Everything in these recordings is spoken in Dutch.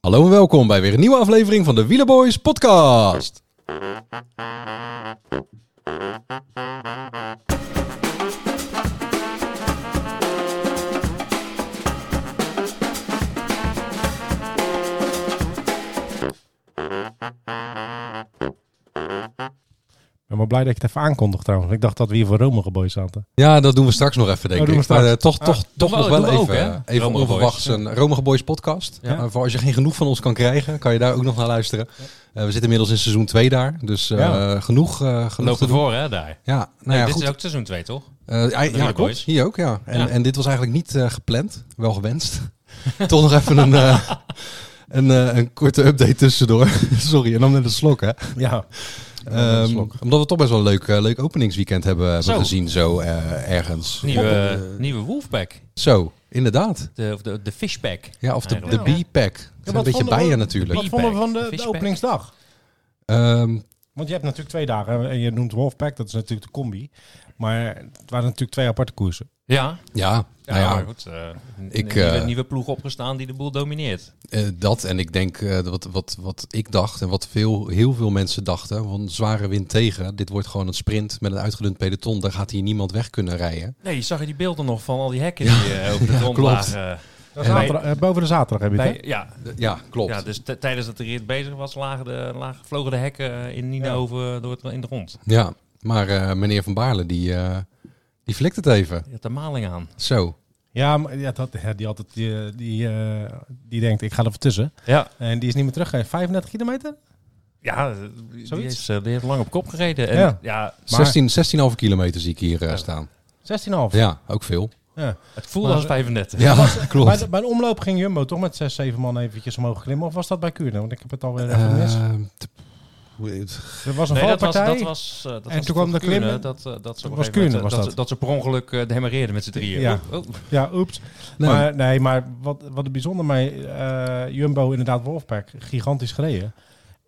Hallo en welkom bij weer een nieuwe aflevering van de Wielerboys podcast. Ik ben wel blij dat je het even aankondigt trouwens. Ik dacht dat we hier voor Rome geboys zaten. Ja, dat doen we straks nog even, denk Oh, doen ik. we straks. Maar, eh, toch Ah, toch, toch we- nog wel Oh, doen even, we ook, hè? eh, even Romige Boys. onverwachts een Romige Boys podcast. Ja. Eh, voor als je geen genoeg van ons kan krijgen, kan je daar ook nog naar luisteren. Eh, we zitten inmiddels in seizoen 2 daar, dus eh, Ja. genoeg, eh genoeg te Lopen doen. voor, hè, daar. Ja, nou Nee, ja, dit goed. is ook seizoen 2, toch? Eh, ja, ja, Wielerboys. klopt. Hier ook, ja. En, Ja. en dit was eigenlijk niet eh, gepland, wel gewenst. Toch nog even een, eh, een, eh, een korte update tussendoor. Sorry, en dan net een slok, hè. Ja. Ehm, omdat we toch best wel een leuk, eh, leuk openingsweekend hebben, hebben Zo. gezien, zo eh, ergens. Nieuwe, eh, eh, nieuwe Wolfpack. Zo, inderdaad. De, of de, de Fishpack. Ja, of de, de Eigenlijk. B-pack. Het zijn een beetje bijen natuurlijk. Wat vonden we van de, Fishback. de openingsdag? Ehm, Want je hebt natuurlijk twee dagen. En je noemt Wolfpack, dat is natuurlijk de combi. Maar het waren natuurlijk twee aparte koersen. Ja, ja, ja, nou ja, maar goed. eh, een ik, nieuwe, eh, nieuwe ploeg opgestaan die de boel domineert. eh, dat en ik denk eh, wat, wat, wat ik dacht en wat veel, heel veel mensen dachten. Van zware wind tegen. Dit wordt gewoon een sprint met een uitgedund peloton. Daar gaat hier niemand weg kunnen rijden. Nee, zag je die beelden nog van al die hekken die eh, over de grond klopt. lagen? Dat En- zaterdag- eh, boven de zaterdag heb je het, Bij, ja, Eh, Ja, klopt. ja, dus t- tijdens dat de rit bezig was, lagen de, lagen, vlogen de hekken in Nienhoven door het, in de grond. Ja, maar eh, meneer Van Baarle, die, eh, die flikt het even. Je had de maling aan. Zo. hè? Ja, maar ja, dat, ja, die, altijd, die, die, eh, die denkt, ik ga er voor tussen. Ja, En die is niet meer terug. eh, 35 kilometer? ja eh, die, Zoiets. heeft, eh, die heeft lang op kop gereden. En, Ja. ja. 16 16,5 kilometer zie ik hier eh, staan. 16,5. Ja, ook veel. Ja. het voelde Maar- als 35. Ja, Bij, klopt. de, bij de omloop ging Jumbo toch met 6, 7 man eventjes omhoog klimmen? Of was dat bij Kuurne? Want ik heb het alweer even mis. Eh, t- hoe- het- Er was een Nee, dat was, valpartij. dat was, eh, dat En was toen kwam voor de Kuurne, klimmen. Dat, eh, dat, ze op was een gegeven Kuurne, moment, was eh, dat, dat. ze- dat ze per ongeluk eh, de hemorrheerden met z'n drieën. Ja. Oh, oh. Ja, oeps. Nee. Maar, nee, maar wat, wat er bijzonder mee, eh, Jumbo inderdaad Wolfpack, gigantisch gereden.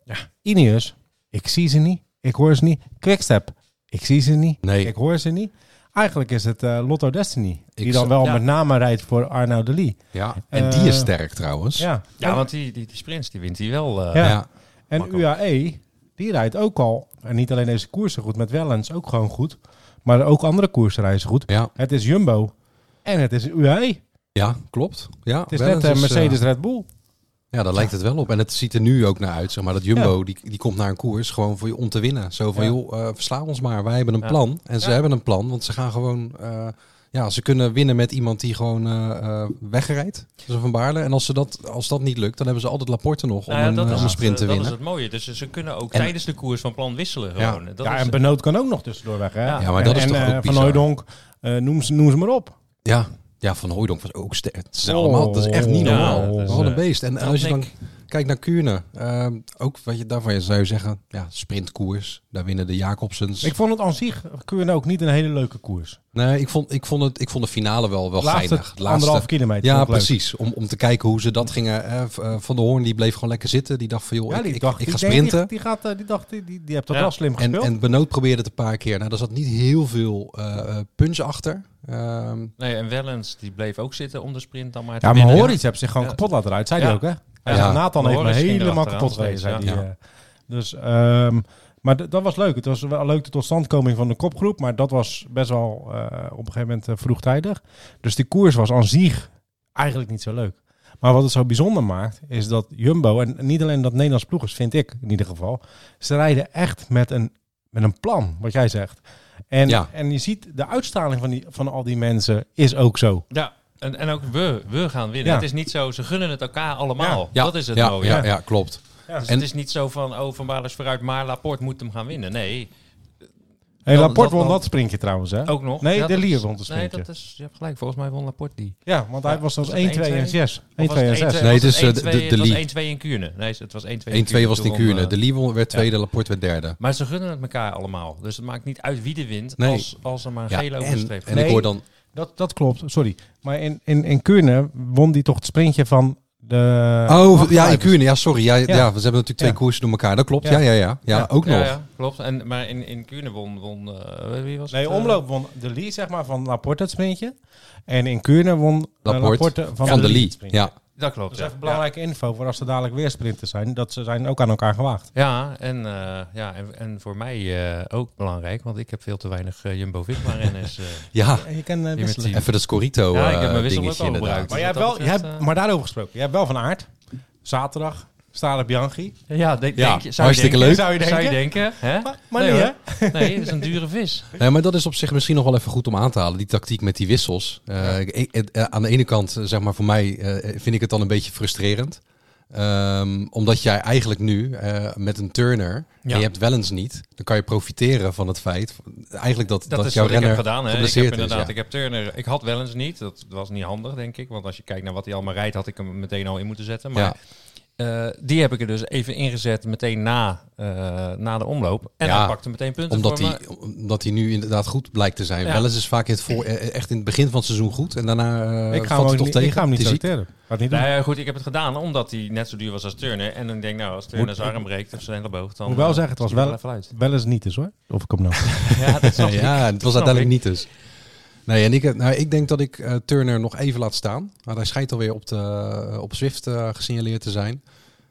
Ja. Ineus, ik zie ze niet, ik hoor ze niet. Quickstep, ik zie ze niet, Nee. ik hoor ze niet. Eigenlijk is het eh, Lotto Destiny, die Ik dan zou- wel ja. met name rijdt voor Arnaud Delis. Ja, en die is Eh, sterk trouwens. Ja, Ja, En- want die, die, die sprints die wint hij wel. eh. Ja. Ja. en makkelijk. UAE, die rijdt ook al, en niet alleen deze koersen goed, met Wellens ook gewoon goed. Maar ook andere koersen rijden ze goed. ja. Het is Jumbo en het is UAE. Ja, klopt. Ja, Het is Wellens net eh, eh, Mercedes Red Bull. ja, daar lijkt het wel op. En het ziet er nu ook naar uit. Zeg maar dat Jumbo die, die komt naar een koers gewoon voor je om te winnen. Zo van Ja. joh, eh, versla ons maar. Wij hebben een Ja. plan. En ze Ja. hebben een plan, want ze gaan gewoon. eh, ja, ze kunnen winnen met iemand die gewoon eh eh, wegrijdt. Zo van Baarle. En als, ze dat, als dat niet lukt, dan hebben ze altijd Laporte nog om, Nou ja, een, dat, eh, is om een het, sprint te eh, dat winnen. is het mooie. Dus ze- ze kunnen ook En- tijdens de koers van plan wisselen. Ja. Gewoon. Dat ja, is, en Benoot kan ook nog tussendoor weg. Hè? Ja. Ja, maar dat en, is toch en, ook eh, bizar. Van Hooydonk, eh, noem, ze, noem ze maar op. Ja. ja, Van Hooijdonk was ook sterk. Het is Oh. allemaal- dat is echt niet Ja, normaal. dat is, Wat een eh, beest. En, en als je dan Nick. Kijk naar Kuurne. Ehm, ook wat je daarvan zou je zeggen, ja, sprintkoers. Daar winnen de Jacobsens. Ik vond het aan zich, Kuurne ook niet een hele leuke koers. nee, ik vond, ik, vond het, ik vond de finale wel, wel Laatste, geinig. Het anderhalf kilometer. Ja, vond ik leuk. precies. Om, om te kijken hoe ze dat gingen. eh, v- eh, van de Hoorn die bleef gewoon lekker zitten. Die dacht van joh, Ja, ik, die ik, dacht, ik ga die- die- sprinten. Die, gaat, eh, die dacht, die, die, die hebt dat Ja. wel slim En, gespeeld. en Benoot probeerde het een paar keer. Nou, daar zat niet heel veel eh, eh, punch achter. Ehm, Nee, en Wellens die bleef ook zitten om de sprint dan maar te ja, maar winnen. Horits heeft zich gewoon Ja. kapot laten rijden. Zei Ja. hij ook, hè? Hij Ja. zei, Nathan heeft me Horwitz ging helemaal erachteraan kapot gereden, zei steeds, hij. ja. eh. Dus, ehm, maar d- dat was leuk. Het was wel leuk de totstandkoming van de kopgroep. Maar dat was best wel eh, op een gegeven moment eh, vroegtijdig. Dus die koers was aan zich eigenlijk niet zo leuk. Maar wat het zo bijzonder maakt, is dat Jumbo... en niet alleen dat Nederlands ploeg is, vind ik in ieder geval... ze rijden echt met een, met een plan, wat jij zegt. En, Ja. en je ziet, de uitstraling van, die, van al die mensen is ook zo. Ja, en, en ook we, we gaan winnen. Ja. Het is niet zo, ze gunnen het elkaar allemaal. ja, Dat is het ja, mooie. Ja, ja, klopt. Dus En- het is niet zo van, oh, Van Baarle is vooruit, maar Laporte moet hem gaan winnen. Nee, Hey, Dan- Laporte dan- won dan- dat sprintje trouwens, hè? ook nog. Nee, Ja, de dat Lier is- won het Nee, sprintje. dat is, je hebt gelijk, volgens mij won Laporte die. Ja, want hij Ja, was als was het 1, 2 en 1-2? 6. 1, Of was 2 en 6. Nee, was het is, eh, de- 1-2 de- de het was Lee. 1-2 in Kuurne. Nee, het was 1-2 in 1-2 was het in Toen won, Kuurne. eh, De Lee werd tweede, Laporte werd derde. Maar ze gunnen het elkaar allemaal. Dus het maakt niet uit wie de wint. Nee. Als, als er maar een Ja, gele en overstreep en gaat. ik hoor dan Dat, dat klopt, sorry. Maar in, in, in Kuurne won die toch het sprintje van de... Eh, Oh, ja, in achteruit. Kuurne. Ja, sorry. Ja, ja. we Ja. hebben natuurlijk twee Ja. koersen door elkaar. Dat klopt. Ja, Ja. ja, ja. Ja, Ja. ook nog. Ja, ja, klopt. En, maar in, in Kuurne won... won eh, wie was Nee, het, eh? omloop won de Lee, zeg maar, van Laporte het sprintje. En in Kuurne won eh, Laporte Laporte van, Van der de Lee Lee. het sprintje. Ja. Dat eh? Dat klopt. Dat is ja. even belangrijke info voor als er dadelijk weer sprinters zijn. Dat ze zijn ook aan elkaar gewaagd. Ja, en, eh, ja en, en voor mij eh, ook belangrijk, want ik heb veel te weinig eh, Jumbo-Visma-renners. eh. Ja, En je kan eh, bent wisselen. team. even dat scorito Ja, ik heb eh, mijn wisselblok dingetje al inderdaad. gebruikt. Maar, Dus jij hebt wat wel, dat jij betreft, hebt, eh, maar daarover gesproken. Jij hebt wel van aard. Zaterdag. Stade Bianchi. ja, denk, Ja, denk je- zou je hartstikke denken- leuk. Zou je denken? hè? Maar, maar Nee, niet, hè? hoor. Nee, dat is een dure vis. Nee, maar dat is op zich misschien nog wel even goed om aan te halen. Die tactiek met die wissels. Eh, ik- ik- eh, aan de ene kant, eh, zeg maar, voor mij eh, vind ik het dan een beetje frustrerend. Ehm, omdat jij eigenlijk nu eh, met een turner, Ja. en je hebt wel eens niet, dan kan je profiteren van het feit eigenlijk dat, dat, Dat, is jouw wat ik renner heb gedaan. Hè. Ik heb geblesseerd is, inderdaad, ja. ik heb Turner. Ik had wel eens niet. Dat was niet handig, denk ik. Want als je kijkt naar wat hij allemaal rijdt, had ik hem meteen al in moeten zetten. Maar Ja. eh, die heb ik er dus even ingezet meteen na, eh, na de omloop. En Ja, hij pakte meteen punten Omdat voor me. hij, omdat hij nu inderdaad goed blijkt te zijn. Ja. Wel eens is vaak in het voor, eh, echt in het begin van het seizoen goed. En daarna eh, ik, ga valt hem hij ook toch niet, tegen. ik ga hem niet Het is ziek. selecteren. Gaat niet doen. Nou ja, goed, ik heb het gedaan omdat hij net zo duur was als Turner. En dan denk ik, nou, als Turner Moet- zijn arm breekt of zijn elleboog, dan... Moet wel eh, zeggen, het was zie je wel- even uit. Wel eens niet dus hoor. Of ik hem nou. Ja, dat snap ik. ja, en het was snap uiteindelijk niet dus. Nee, en ik, heb- nou, ik denk dat ik eh, Turner nog even laat staan. Maar hij schijnt alweer op, de, op Zwift eh, gesignaleerd te zijn.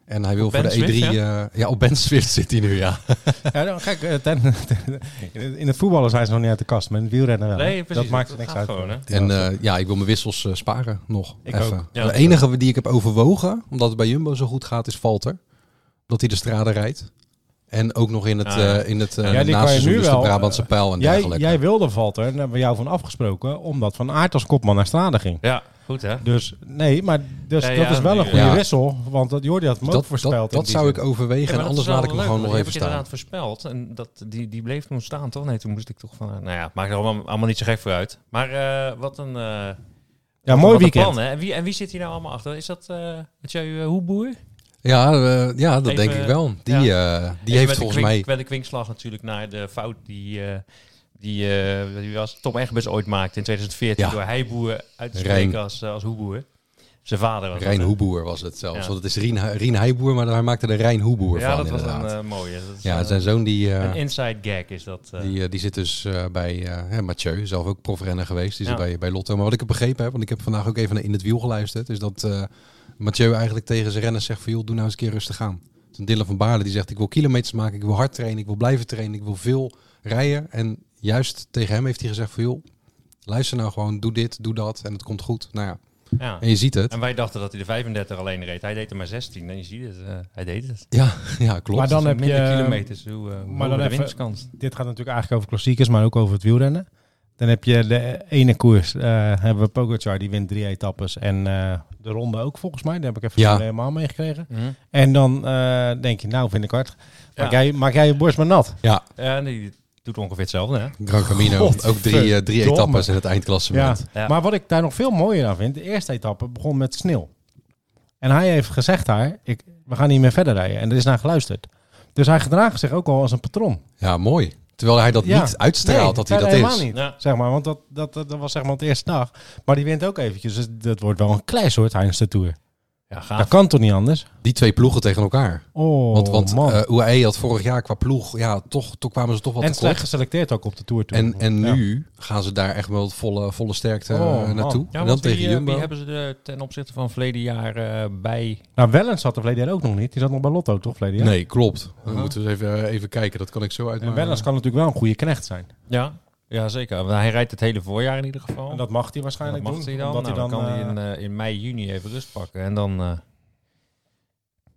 En hij wil Op voor Ben de E3... Swift, ja? ja, op Ben Swift zit hij nu, ja. ja, nou, kijk, eh, ten- ten- in het voetballen zijn ze nog niet uit de kast, maar in het wielrennen wel. hè? Nee, precies, dat maakt dat niks gaat uit. gewoon, hè? En eh, ja, ik wil mijn wissels eh, sparen nog. Ik even. ook. Ja, de dat enige die ik heb overwogen, omdat het bij Jumbo zo goed gaat, is Valter. Omdat hij de straden rijdt. En ook nog in het, Ah, ja. eh, in het eh, Ja, die kan je naseizoen, nu dus de wel, Brabantse pijl en jij, dergelijke. jij wilde Valter, en daar hebben we jou van afgesproken, omdat Van Aert als kopman naar Strade ging. Ja, goed hè. Dus nee, maar dus, Ja, dat ja, is wel een goede ja. wissel, want dat Jordi had hem ook Dus dat, voorspeld. dat, in dat die zou zin. ik overwegen, en anders laat ik hem gewoon nog even Ik heb staan. inderdaad voorspeld en dat, die, die bleef toen staan, toch? Nee, toen moest ik toch van... eh, nou ja, maakt er allemaal, allemaal niet zo gek voor uit. Maar eh, wat een... eh, Ja, wat mooi een weekend. plan, hè? En wie, en wie zit hier nou allemaal achter? Is dat eh Mathieu eh, Hoeboer? Ja, eh, ja dat Even- denk ik wel. Die, eh, die Even met heeft de volgens kwink- mij... Met de kwinkslag natuurlijk naar de fout die... eh, die, eh, die was Tom Eggebus ooit maakte in 2014 Ja. door Heiboer uit te Rijn. spreken als, eh, als Hoeboer. Zijn vader was dat, Rijn hè? Hoeboer was het zelfs. Ja. Want het is Rien, Rien Heiboer, maar hij maakte de Rijn Hoeboer Ja, van dat was inderdaad. een eh, mooie. Dat is, ja, eh, zijn zoon die, eh, een inside gag is dat. eh. die, eh, die zit dus eh, bij eh, hè, Mathieu, zelf ook profrenner geweest. Die zit Ja. bij, bij Lotto. Maar wat ik heb begrepen heb, want ik heb vandaag ook even naar in het wiel geluisterd, is dat eh, Mathieu eigenlijk tegen zijn renners zegt van joh, doe nou eens een keer rustig aan. Dus Dylan van Baarle die zegt ik wil kilometers maken, ik wil hard trainen, ik wil blijven trainen, ik wil veel rijden. En juist tegen hem heeft hij gezegd van joh, luister nou gewoon, doe dit, doe dat en het komt goed. Nou ja, ja. en je ziet het. En wij dachten dat hij de 35 alleen reed. Hij deed er maar 16. En je ziet het, eh, hij deed het. Ja, ja klopt. Maar dan Dus heb je... minder kilometers. Hoe, eh, hoe dan hoger de even- winstkans. Dit gaat natuurlijk eigenlijk over klassiekers, maar ook over het wielrennen. Dan heb je de ene koers, eh, hebben we Pogacar, die wint drie etappes. En eh, de ronde ook volgens mij, daar heb ik even Ja. niet helemaal meegekregen. En dan eh, denk je, nou vind ik hard. Maak, jij, maak jij je borst maar nat. Ja, Ja, en die doet ongeveer hetzelfde. Hè? Gran Camino. God, ook drie, eh, drie verdomme. etappes in het Ja. eindklassement. Ja. Maar wat ik daar nog veel mooier aan vind, de eerste etappe begon met sneeuw. En hij heeft gezegd daar, ik, we gaan niet meer verder rijden. En er is naar geluisterd. Dus hij gedraagt zich ook al als een patroon. Ja, mooi. Terwijl hij dat Ja. niet uitstraalt Nee, dat hij dat verder is. helemaal niet. Ja. Zeg maar, want dat, dat, dat, dat was zeg maar het eerste dag. Maar die wint ook eventjes. Dus dat wordt wel een klei soort tijdens de Tour. Ja, Dat gaaf. kan toch niet anders? Die twee ploegen tegen elkaar. Oh, Want, want man. eh, UAE had vorig jaar qua ploeg, ja, toch, toch kwamen ze toch wat en tekort. slecht geselecteerd ook op de Tour. toen. En, en Ja. nu gaan ze daar echt wel het volle, volle sterkte eh, Oh, man. naartoe. Ja, en dan want tegen wie, eh, Jumbo. wie hebben ze er ten opzichte van verleden jaar eh, bij? Nou, Wellens zat er verleden jaar ook nog niet. Die zat nog bij Lotto, toch? Verleden jaar? Nee, klopt. Dan moeten we eens even, even kijken. Dat kan ik zo En uitmaken. Wellens kan natuurlijk wel een goede knecht zijn. Ja, ja zeker. Want hij rijdt het hele voorjaar in ieder geval. En dat mag hij En dat waarschijnlijk mag doen. hij dan. omdat Nou, dan, kan eh, hij in, eh, in mei, juni even rust pakken. En dan eh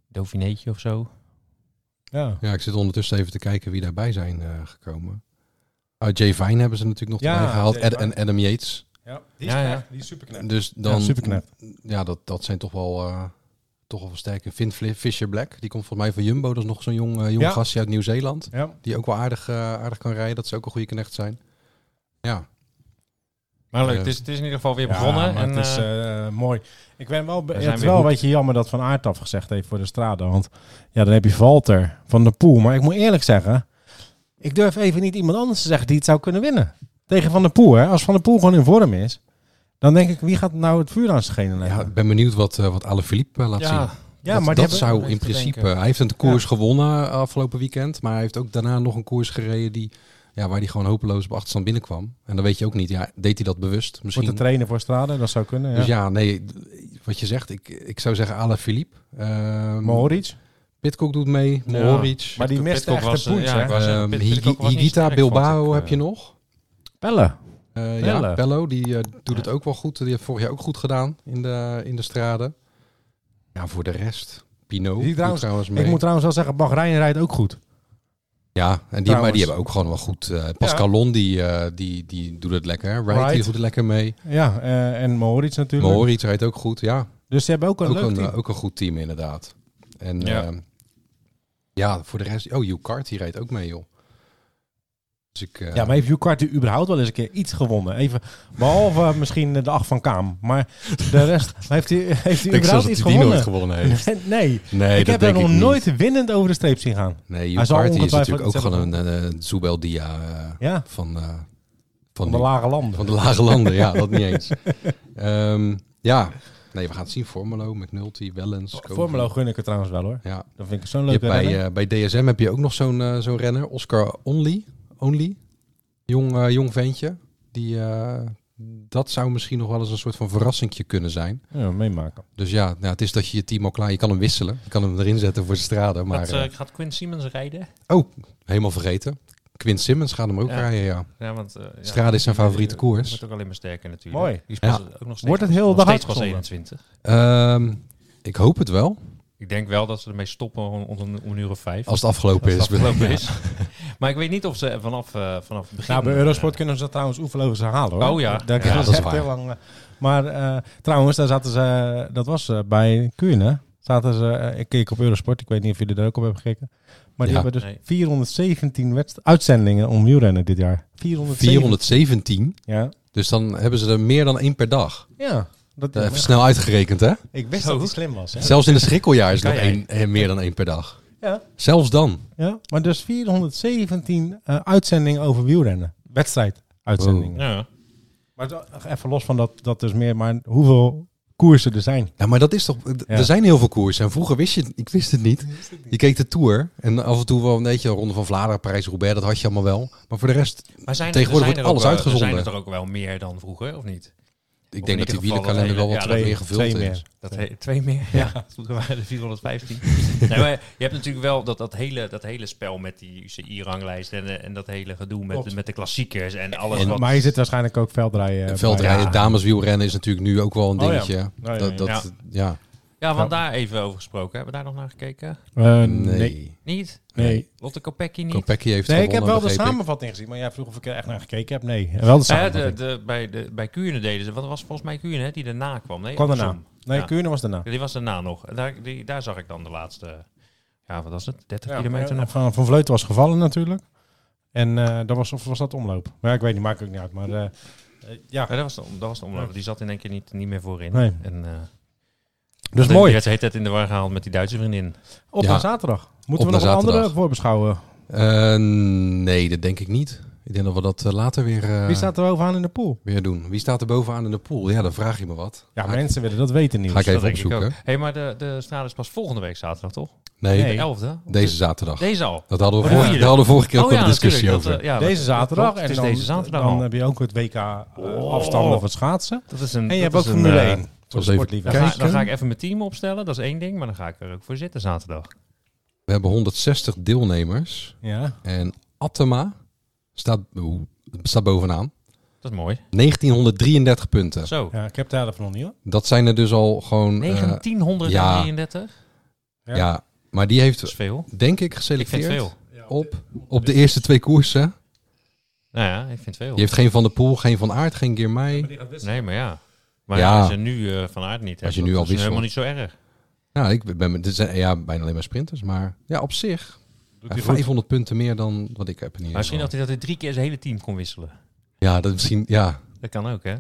Dauphineetje of zo. ja. Ja, ik zit ondertussen even te kijken wie daarbij zijn eh, gekomen. Ah, Jay Vine hebben ze natuurlijk nog Ja, erbij gehaald. Jay Ed- en Vine. Adam Yates. Ja, die is Ja, knecht, Die is superknecht. Dus dan, ja, superknecht. ja, dat, dat zijn toch wel, eh, toch wel sterke. Vin Fli- Fisher Black, die komt volgens mij van Jumbo. Dat is nog zo'n jong, eh, jong Ja. gastje uit Nieuw-Zeeland. Ja. Die ook wel aardig, eh, aardig kan rijden. Dat ze ook een goede knecht zijn. Ja, Maar leuk, Ja. het, is, het is in ieder geval weer Ja, begonnen. maar En, het is eh, eh, mooi. Ik ben wel, be- we het zijn is weer wel een hoekt. beetje jammer dat Van Aert afgezegd heeft voor de straten. Want ja, dan heb je Valter van de Poel. Maar ik moet eerlijk zeggen, ik durf even niet iemand anders te zeggen die het zou kunnen winnen. Tegen Van der Poel, hè. Als Van der Poel gewoon in vorm is, dan denk ik, wie gaat nou het vuur aan zijn schenen leggen? ja, Ja, ik ben benieuwd wat, eh, wat Alaphilippe eh, laat zien. dat maar die dat hebben- zou even in te principe. denken. eh, Hij heeft een koers gewonnen afgelopen weekend. Maar hij heeft ook daarna nog een koers gereden die Ja, waar hij gewoon hopeloos op achterstand binnenkwam. En dan weet je ook niet, ja, deed hij dat bewust? Wordt Misschien. te trainen voor Strade, dat zou kunnen. Ja. Dus ja, nee, d- wat je zegt, ik, ik zou zeggen Alain Philippe. Ehm, Mohoric. Pitcock doet mee, Ja. Mohoric. Maar die Pitcock mist echt was, de eh, poets, ja, hè? ik wou zeggen, Ehm, Pit- Hig- Pitcock was niet Higita sterk, vond ik, Bilbao eh. heb je nog. Pellen. Eh, Pelle. Ja, Pello, die eh, doet het ook wel goed. Die heeft vorig jaar ook goed gedaan in de, in de straden. Ja, voor de rest. Pino Die doet trouwens- trouwens, mee. Ik moet trouwens wel zeggen, Bahrein rijdt ook goed. ja, en die, maar trouwens- die hebben ook gewoon wel goed. eh Pascal Lon, die, eh, die, die doet het lekker. Wright, Wright. die doet het lekker mee. Ja, eh, en Mohoric natuurlijk. Mohoric rijdt ook goed. Ja, Dus ze hebben ook een ook leuk een, team. eh, ook een goed team inderdaad. En Ja. ja, ja voor de rest. Oh, Jukart, die rijdt ook mee, joh. Dus ik, eh, Ja, maar heeft Jukart überhaupt wel eens een keer iets gewonnen? Even, behalve eh, misschien de acht van Kaam. Maar de rest, heeft hij, heeft ik hij denk zelfs überhaupt dat iets hij die nooit gewonnen? gewonnen heeft. Nee, Nee, dat ik heb er denk nog ik niet. nooit winnend over de streep zien gaan. Nee, Hij Hugh zal Carty is ongetwijfeld natuurlijk ook iets gewoon een, eh, een Zubeldia eh, Ja, van, eh, van, van de nu. lage landen. van de lage landen. ja, dat niet eens. Ehm, ja, nee, we gaan het zien. Formelo, McNulty, Wellens. Koven. Oh, Formelo gun ik het trouwens wel hoor. Ja. Dat vind ik zo'n Je hebt leuke bij, renner. eh, bij DSM heb je ook nog zo'n eh, zo'n renner, Oscar Only. Only. Jong, eh, jong ventje. Die, eh, dat zou misschien nog wel eens een soort van verrassingje kunnen zijn. Ja, meemaken. Dus ja, nou, het is dat je je team al klaar... Je kan hem wisselen. Je kan hem erin zetten voor de straden. Maar Gaat, eh, eh, gaat Quinn Siemens rijden? helemaal vergeten. Quint Simmons gaat hem ook Ja. rijden, ja. Ja, want, eh, ja, Strade is zijn die- favoriete koers. Wordt ook alleen maar sterker natuurlijk. Mooi. Die is Ja. pas ook nog steeds, Wordt het heel nog dag steeds pas uitgezonden? 21. Ehm, ik hoop het wel. Ik denk wel dat ze ermee stoppen om, om, een- om een uur of vijf. Als het afgelopen Als is. dat afgelopen is. Maar ik weet niet of ze vanaf, eh, vanaf het begin... Nou, bij Eurosport eh, kunnen ze dat trouwens oeverloos halen hoor. Oh ja. Daar Ja, kunnen ze dat is echt waar. heel lang. eh, Maar eh, trouwens, daar zaten ze, eh, dat was eh, bij Kuurne. Zaten ze, eh, ik keek op Eurosport, ik weet niet of jullie daar ook op hebben gekeken. Maar die Ja. hebben dus Nee. 417 wedst- uitzendingen om wielrennen dit jaar. 417. 417. Ja. Dus dan hebben ze er meer dan één per dag. ja dat, Dat eh, even snel uitgerekend, hè? ik wist Zo. dat het slim was. Hè? Zelfs in het schrikkeljaar is er nog Kan jij? één, eh, meer dan één per dag. Ja. Zelfs dan. ja. Maar dus 417 eh, uitzendingen over wielrennen. Wedstrijd uitzendingen. eh, Oh. Ja. Maar zo- even los van dat, dat dus meer, maar hoeveel koersen er zijn. Ja, maar dat is toch... d- Ja. Er zijn heel veel koersen. En vroeger wist je... het- Ik wist het niet. Je keek de Tour. En af en toe wel een beetje Ronde van Vlaanderen, Parijs-Roubaix. Dat had je allemaal wel. Maar voor de rest... Maar zijn, Tegenwoordig wordt zijn er alles ook, eh, uitgezonden. Zijn er toch ook wel meer dan vroeger, of niet? Ik denk dat ieder die geval wielerkalender wel dat hele- wat ja, terug twee- meer gevuld twee is. meer. Dat he- twee meer? Ja. Vroeger waren er 415. nee, maar je hebt natuurlijk wel dat, dat, hele, dat hele spel met die UCI-ranglijst en, eh, en dat hele gedoe met, Klopt. met de klassiekers en alles En- wat... Maar je zit waarschijnlijk ook veldrijden. eh, Veldrijden, ja. dameswielrennen is natuurlijk nu ook wel een Oh, ja. dingetje. ja, ja. Dat, dat, Ja. ja. Ja, want daar even over gesproken. Hebben we daar nog naar gekeken? bij. Eh, Nee. nee. Niet? Nee. Lotte Kopecky niet? Kopecky heeft Nee, ik heb gewonnen, wel de begreep ik. samenvatting gezien, maar jij vroeg of ik er echt naar gekeken heb. Nee, wel de Nou ja, de, samenvatting. de, bij, de, bij Kuurne deden ze... Wat was volgens mij Kuurne hè, die daarna kwam? Nee, Kwam andersom. daarna. Nee, Ja. Kuurne was daarna. Ja, Die was daarna nog. En Daar, die, daar zag ik dan de laatste... Ja, wat was het? 30 Ja, kilometer eh, nog? Van, van Vleuten was gevallen natuurlijk. En eh, dat was, of was dat omloop? Maar ja, ik weet niet, maakt ook niet uit. Maar eh, eh, ja, Ja, dat was de, dat was de omloop. Die zat in één keer niet, niet meer voorin. Nee. En, eh, dus Die mooi. werd de hele tijd in de war gehaald met die Duitse vriendin. Op Ja. naar zaterdag. Moeten Op we nog naar een andere zaterdag. voorbeschouwen? Eh, nee, dat denk ik niet. Ik denk dat we dat eh, later weer, eh, Wie staat er bovenaan in de pool? weer doen. Wie staat er bovenaan in de pool? Ja, dan vraag je me wat. Ja, Ga ik- mensen willen dat weten Ga ik niet. Dat even denk ik ook. opzoeken. hey, maar de, de straat is pas volgende week zaterdag, toch? Nee, Nee. De 11e? deze zaterdag. Deze al. Dat hadden we, Wat vorige, hoor je? daar hadden we vorige keer ook al een discussie Oh natuurlijk. over. Dat, eh, ja, Deze dat- zaterdag. dat- En Het is dan, deze zaterdag dan al. heb je ook het WK Oh. eh, afstanden of het schaatsen. Dat is een, En je dat hebt ook is een, Formule eh, 1. Voor de was even Dan sportliefhebbers. ga, dan ga Kijken. ik even mijn team opstellen, dat is één ding. Maar dan ga ik er ook voor zitten zaterdag. We hebben 160 deelnemers. Ja. En Attema staat, oeh, staat bovenaan. Dat is mooi. 1933 punten. Zo. ja, ik heb daar van nog niet hoor. Dat zijn er dus al gewoon... eh, 1933? ja. maar die Dat is heeft, veel. denk ik, Ik vind geselecteerd het veel. Op, op de eerste twee koersen. Nou ja, ik vind het Je veel. heeft geen Van der Poel, geen Van Aert, geen Girmay. Nee, maar ja. Maar Ja. als je nu eh, van aard niet hebt, je nu dat al is helemaal niet zo wisselt. erg. Nou, ik ben, dit zijn ja, bijna alleen maar sprinters, maar ja, op zich. hij 500 punten meer dan wat ik heb in Maar ieder geval. misschien dat hij dat hij drie keer zijn hele team kon wisselen. Ja, dat misschien, ja. Dat kan ook, hè?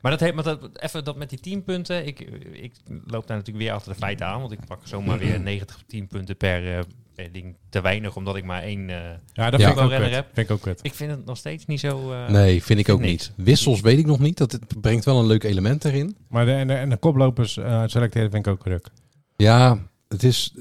Maar dat heeft, maar dat, even dat met die 10 punten. Ik, ik loop daar natuurlijk weer achter de feiten aan, want ik pak zomaar weer 90 10 punten per, eh, per ding te weinig, omdat ik maar één. eh, Ja, dat Ja. Vind, ik ook Renner, kut. hè? vind ik ook kut. ik vind het nog steeds niet zo. eh, nee, vind ik ook niks. niet. Wissels weet ik nog niet. Dat het brengt wel een leuk element erin. Maar de, en, de, en de koplopers eh, selecteren vind ik ook druk. Ja, het is.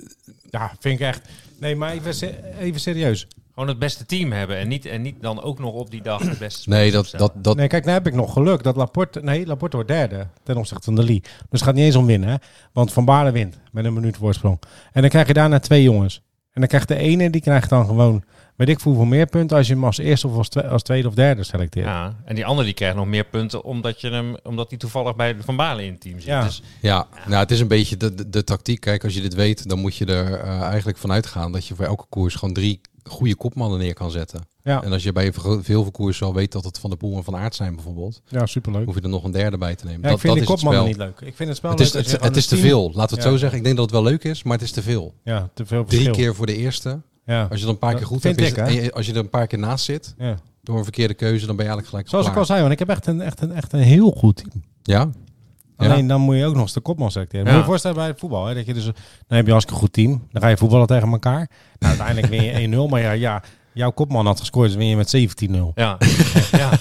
Ja, vind ik echt. Nee, maar even, se- even serieus. Gewoon het beste team hebben. En niet, en niet dan ook nog op die dag de beste Nee, spelers dat, opstellen. dat, dat, Nee, kijk, nou heb ik nog geluk dat Laporte... Nee, Laporte wordt derde ten opzichte van de Lee. Dus het gaat niet eens om winnen, hè. Want Van Baarle wint met een minuut voorsprong. En dan krijg je daarna twee jongens. En dan krijgt de ene, die krijgt dan gewoon... Weet ik hoeveel meer punten als je hem als eerste of als, twe- als tweede of derde selecteert. Ja, en die andere die krijgt nog meer punten omdat, je hem, omdat die toevallig bij Van Balen in het team zit. Ja. Dus Ja, nou, het is een beetje de, de, de tactiek. Kijk, als je dit weet, dan moet je er eh, eigenlijk vanuit gaan dat je voor elke koers gewoon drie goede kopmannen neer kan zetten. Ja. En als je bij veel veel koersen al weet dat het Van de Poel en Van Aert zijn bijvoorbeeld, Ja, superleuk. hoef je er nog een derde bij te nemen. Ja, dat, ik vind dat die is het kopmannen spel. niet leuk. Ik vind het spel Het is, Oh, leuk als het, het je gewoon is te een team- veel, laten we het Ja. zo zeggen. Ik denk dat het wel leuk is, maar het is te veel. Ja, te veel Drie verschil. keer voor de eerste. Ja. Als je er een paar Dat keer goed vind hebt, is ik, het- hè. en je- als je er een paar keer naast zit, ja. door een verkeerde keuze, dan ben je eigenlijk gelijk Zoals ik klaar. al zei, want ik heb echt een, echt een, echt een heel goed team. Ja, Ja. Alleen dan moet je ook nog eens de kopman selecteren. Moet Ja. je je voorstellen bij het voetbal. Hè, dat je dus, dan heb je hartstikke goed team. Dan ga je voetballen tegen elkaar. Nou, uiteindelijk win je 1-0. Maar ja, ja, jouw kopman had gescoord. Dus win je met 17-0. ja, ja. Dat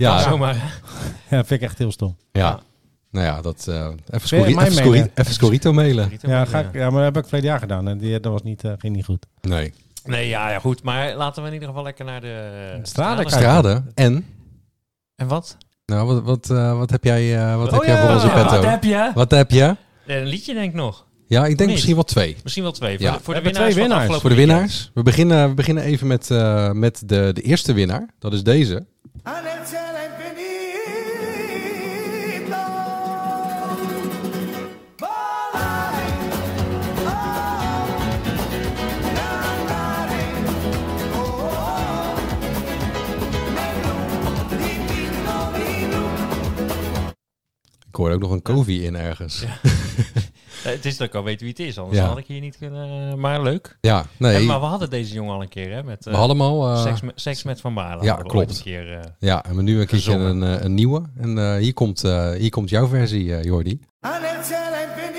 Ja. kan zomaar. Ja, vind ik echt heel stom. ja. Nou ja, dat, eh even, Wil je scori mij even, scori- mailen? even Scorito mailen. Ja, ga ik, ja, maar dat heb ik verleden jaar gedaan. En die, dat was niet, eh, ging niet goed. Nee. Nee, ja, ja, goed. Maar laten we in ieder geval lekker naar de Strade kijken. Straden en... En wat? Nou, wat, wat, eh, wat heb jij, eh, wat heb Oh jij ja, voor onze Ah, ja, petto? Wat heb je? Wat heb je? Eh, Een liedje denk ik nog. Ja, ik denk Niet. misschien wel twee. Misschien wel twee. Ja. Voor, de, voor de We hebben twee winnaars. van Voor de winnaars. afgelopen weekend. winnaars. We beginnen, we beginnen even met, eh, met de, de eerste winnaar. Dat is deze. En el Ah, cielo infinito. Volaré, oh, cantaré, oh, negro, liquidno, vino. Ik hoor ook nog een Kovi in ergens. Ja, Eh, het is dat ik al weet wie het is, anders Ja. had ik hier niet kunnen... eh, Maar leuk. nee. En, maar we hadden deze jongen al een keer, hè? Met, eh, we hadden hem al. eh, seks, met, seks met Van Baarle. ja, hadden we ooit klopt. Een keer, eh, ja, en we nu een keertje Gezongen. een, eh, een nieuwe. En eh, hier, komt, eh, hier komt jouw versie, eh, Jordi. En el Ah, cielo infinito.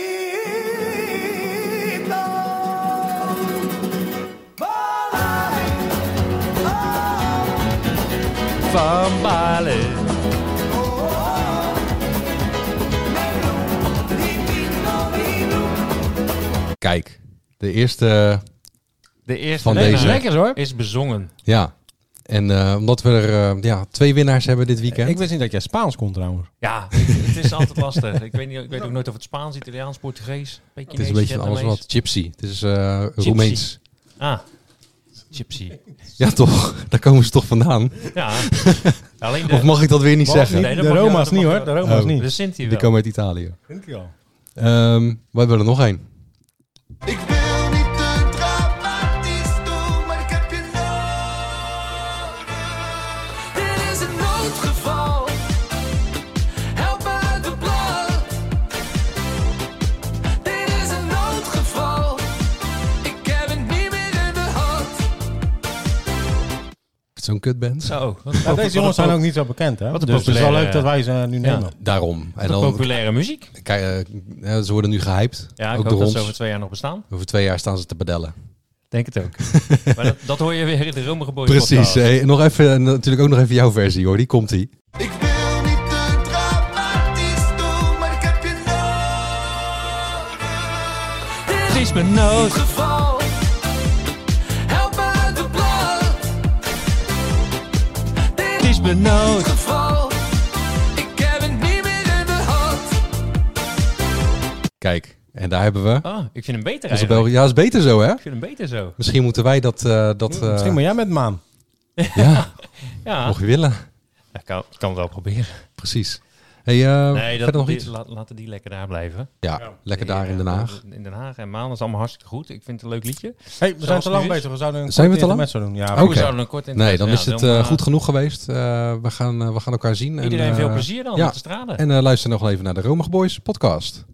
Volaré, oh, Van Baarle. oh, negro, liquidno, vino. Kijk, de eerste. eh, De eerste Van winnaar deze. Lekker hoor. is bezongen. ja. En eh, omdat we er eh, ja, twee winnaars hebben dit weekend. Ik wist niet dat jij Spaans kon trouwens. Ja, het is altijd lastig. Ik weet, niet, ik weet ook nooit of het Spaans, Italiaans, Portugees, beetje het is een beetje van alles wat. Gypsy. Het is eh Roemeens. Ah, gypsy. Ja, toch? Daar komen ze toch vandaan? Ja, alleen de, Of mag ik dat weer niet zeggen? Nee, dat de mag je- Roma's dat niet mag hoor. je- De Roma's Oh. niet. de Sinti Die wel. komen uit Italië. Ehm we hebben er nog één. Ik wil niet te dramatisch doen, maar ik heb je nodig. Dit is een noodgeval. Help me uit de plan. Dit is een noodgeval. Ik heb het niet meer in de hand. Zo'n kutband. Zo, wat Ja, een deze jongens zijn ook niet zo bekend hè. Wat een Dus het is wel populaire- leuk dat wij ze nu Ja. nemen. Daarom. En po- dan, populaire muziek. kijk, eh, eh, ze worden nu gehyped. Ja, ik ook hoop door dat ons. ze over twee jaar nog bestaan. Over twee jaar staan ze te bedellen. Denk het ook. maar dat, dat hoor je weer in de Romige Boys Precies. podcast. Hey, nog even, en natuurlijk ook nog even jouw versie hoor. Die komt ie. Ik wil niet te dramatisch doen, maar ik heb je nodig. Het is me nood. geval. Help me uit de plan. Dit Het is me nood. geval. Ik heb het niet meer in de hand. Kijk, en daar hebben we. Ah, ik vind hem Onze beter eigenlijk. België. Ja, is beter zo hè? Ik vind hem beter zo. Misschien moeten wij dat. eh, dat eh, Misschien moet jij met Maan. ja, Ja, mocht je willen. ik kan, ik kan het wel proberen. Precies. Hey, eh Nee, dat, verder nog die- iets? laat- laten die lekker daar blijven. Ja, lekker daar Eh, in Den Haag. In Den Haag en Maan is allemaal hartstikke goed. Ik vind het een leuk liedje. Hey, we zijn Zoals te het lang nu is. bezig. We zouden een Zijn we kort te lang? intermezzo doen. Ja, Oké. We zouden een kort Nee, interview- dan ja, is het eh, eh, goed genoeg geweest. Eh, we, gaan, eh, we gaan elkaar zien. Iedereen en, eh, veel plezier dan ja. op de straten. En eh, luister nog wel even naar de Romig Boys podcast.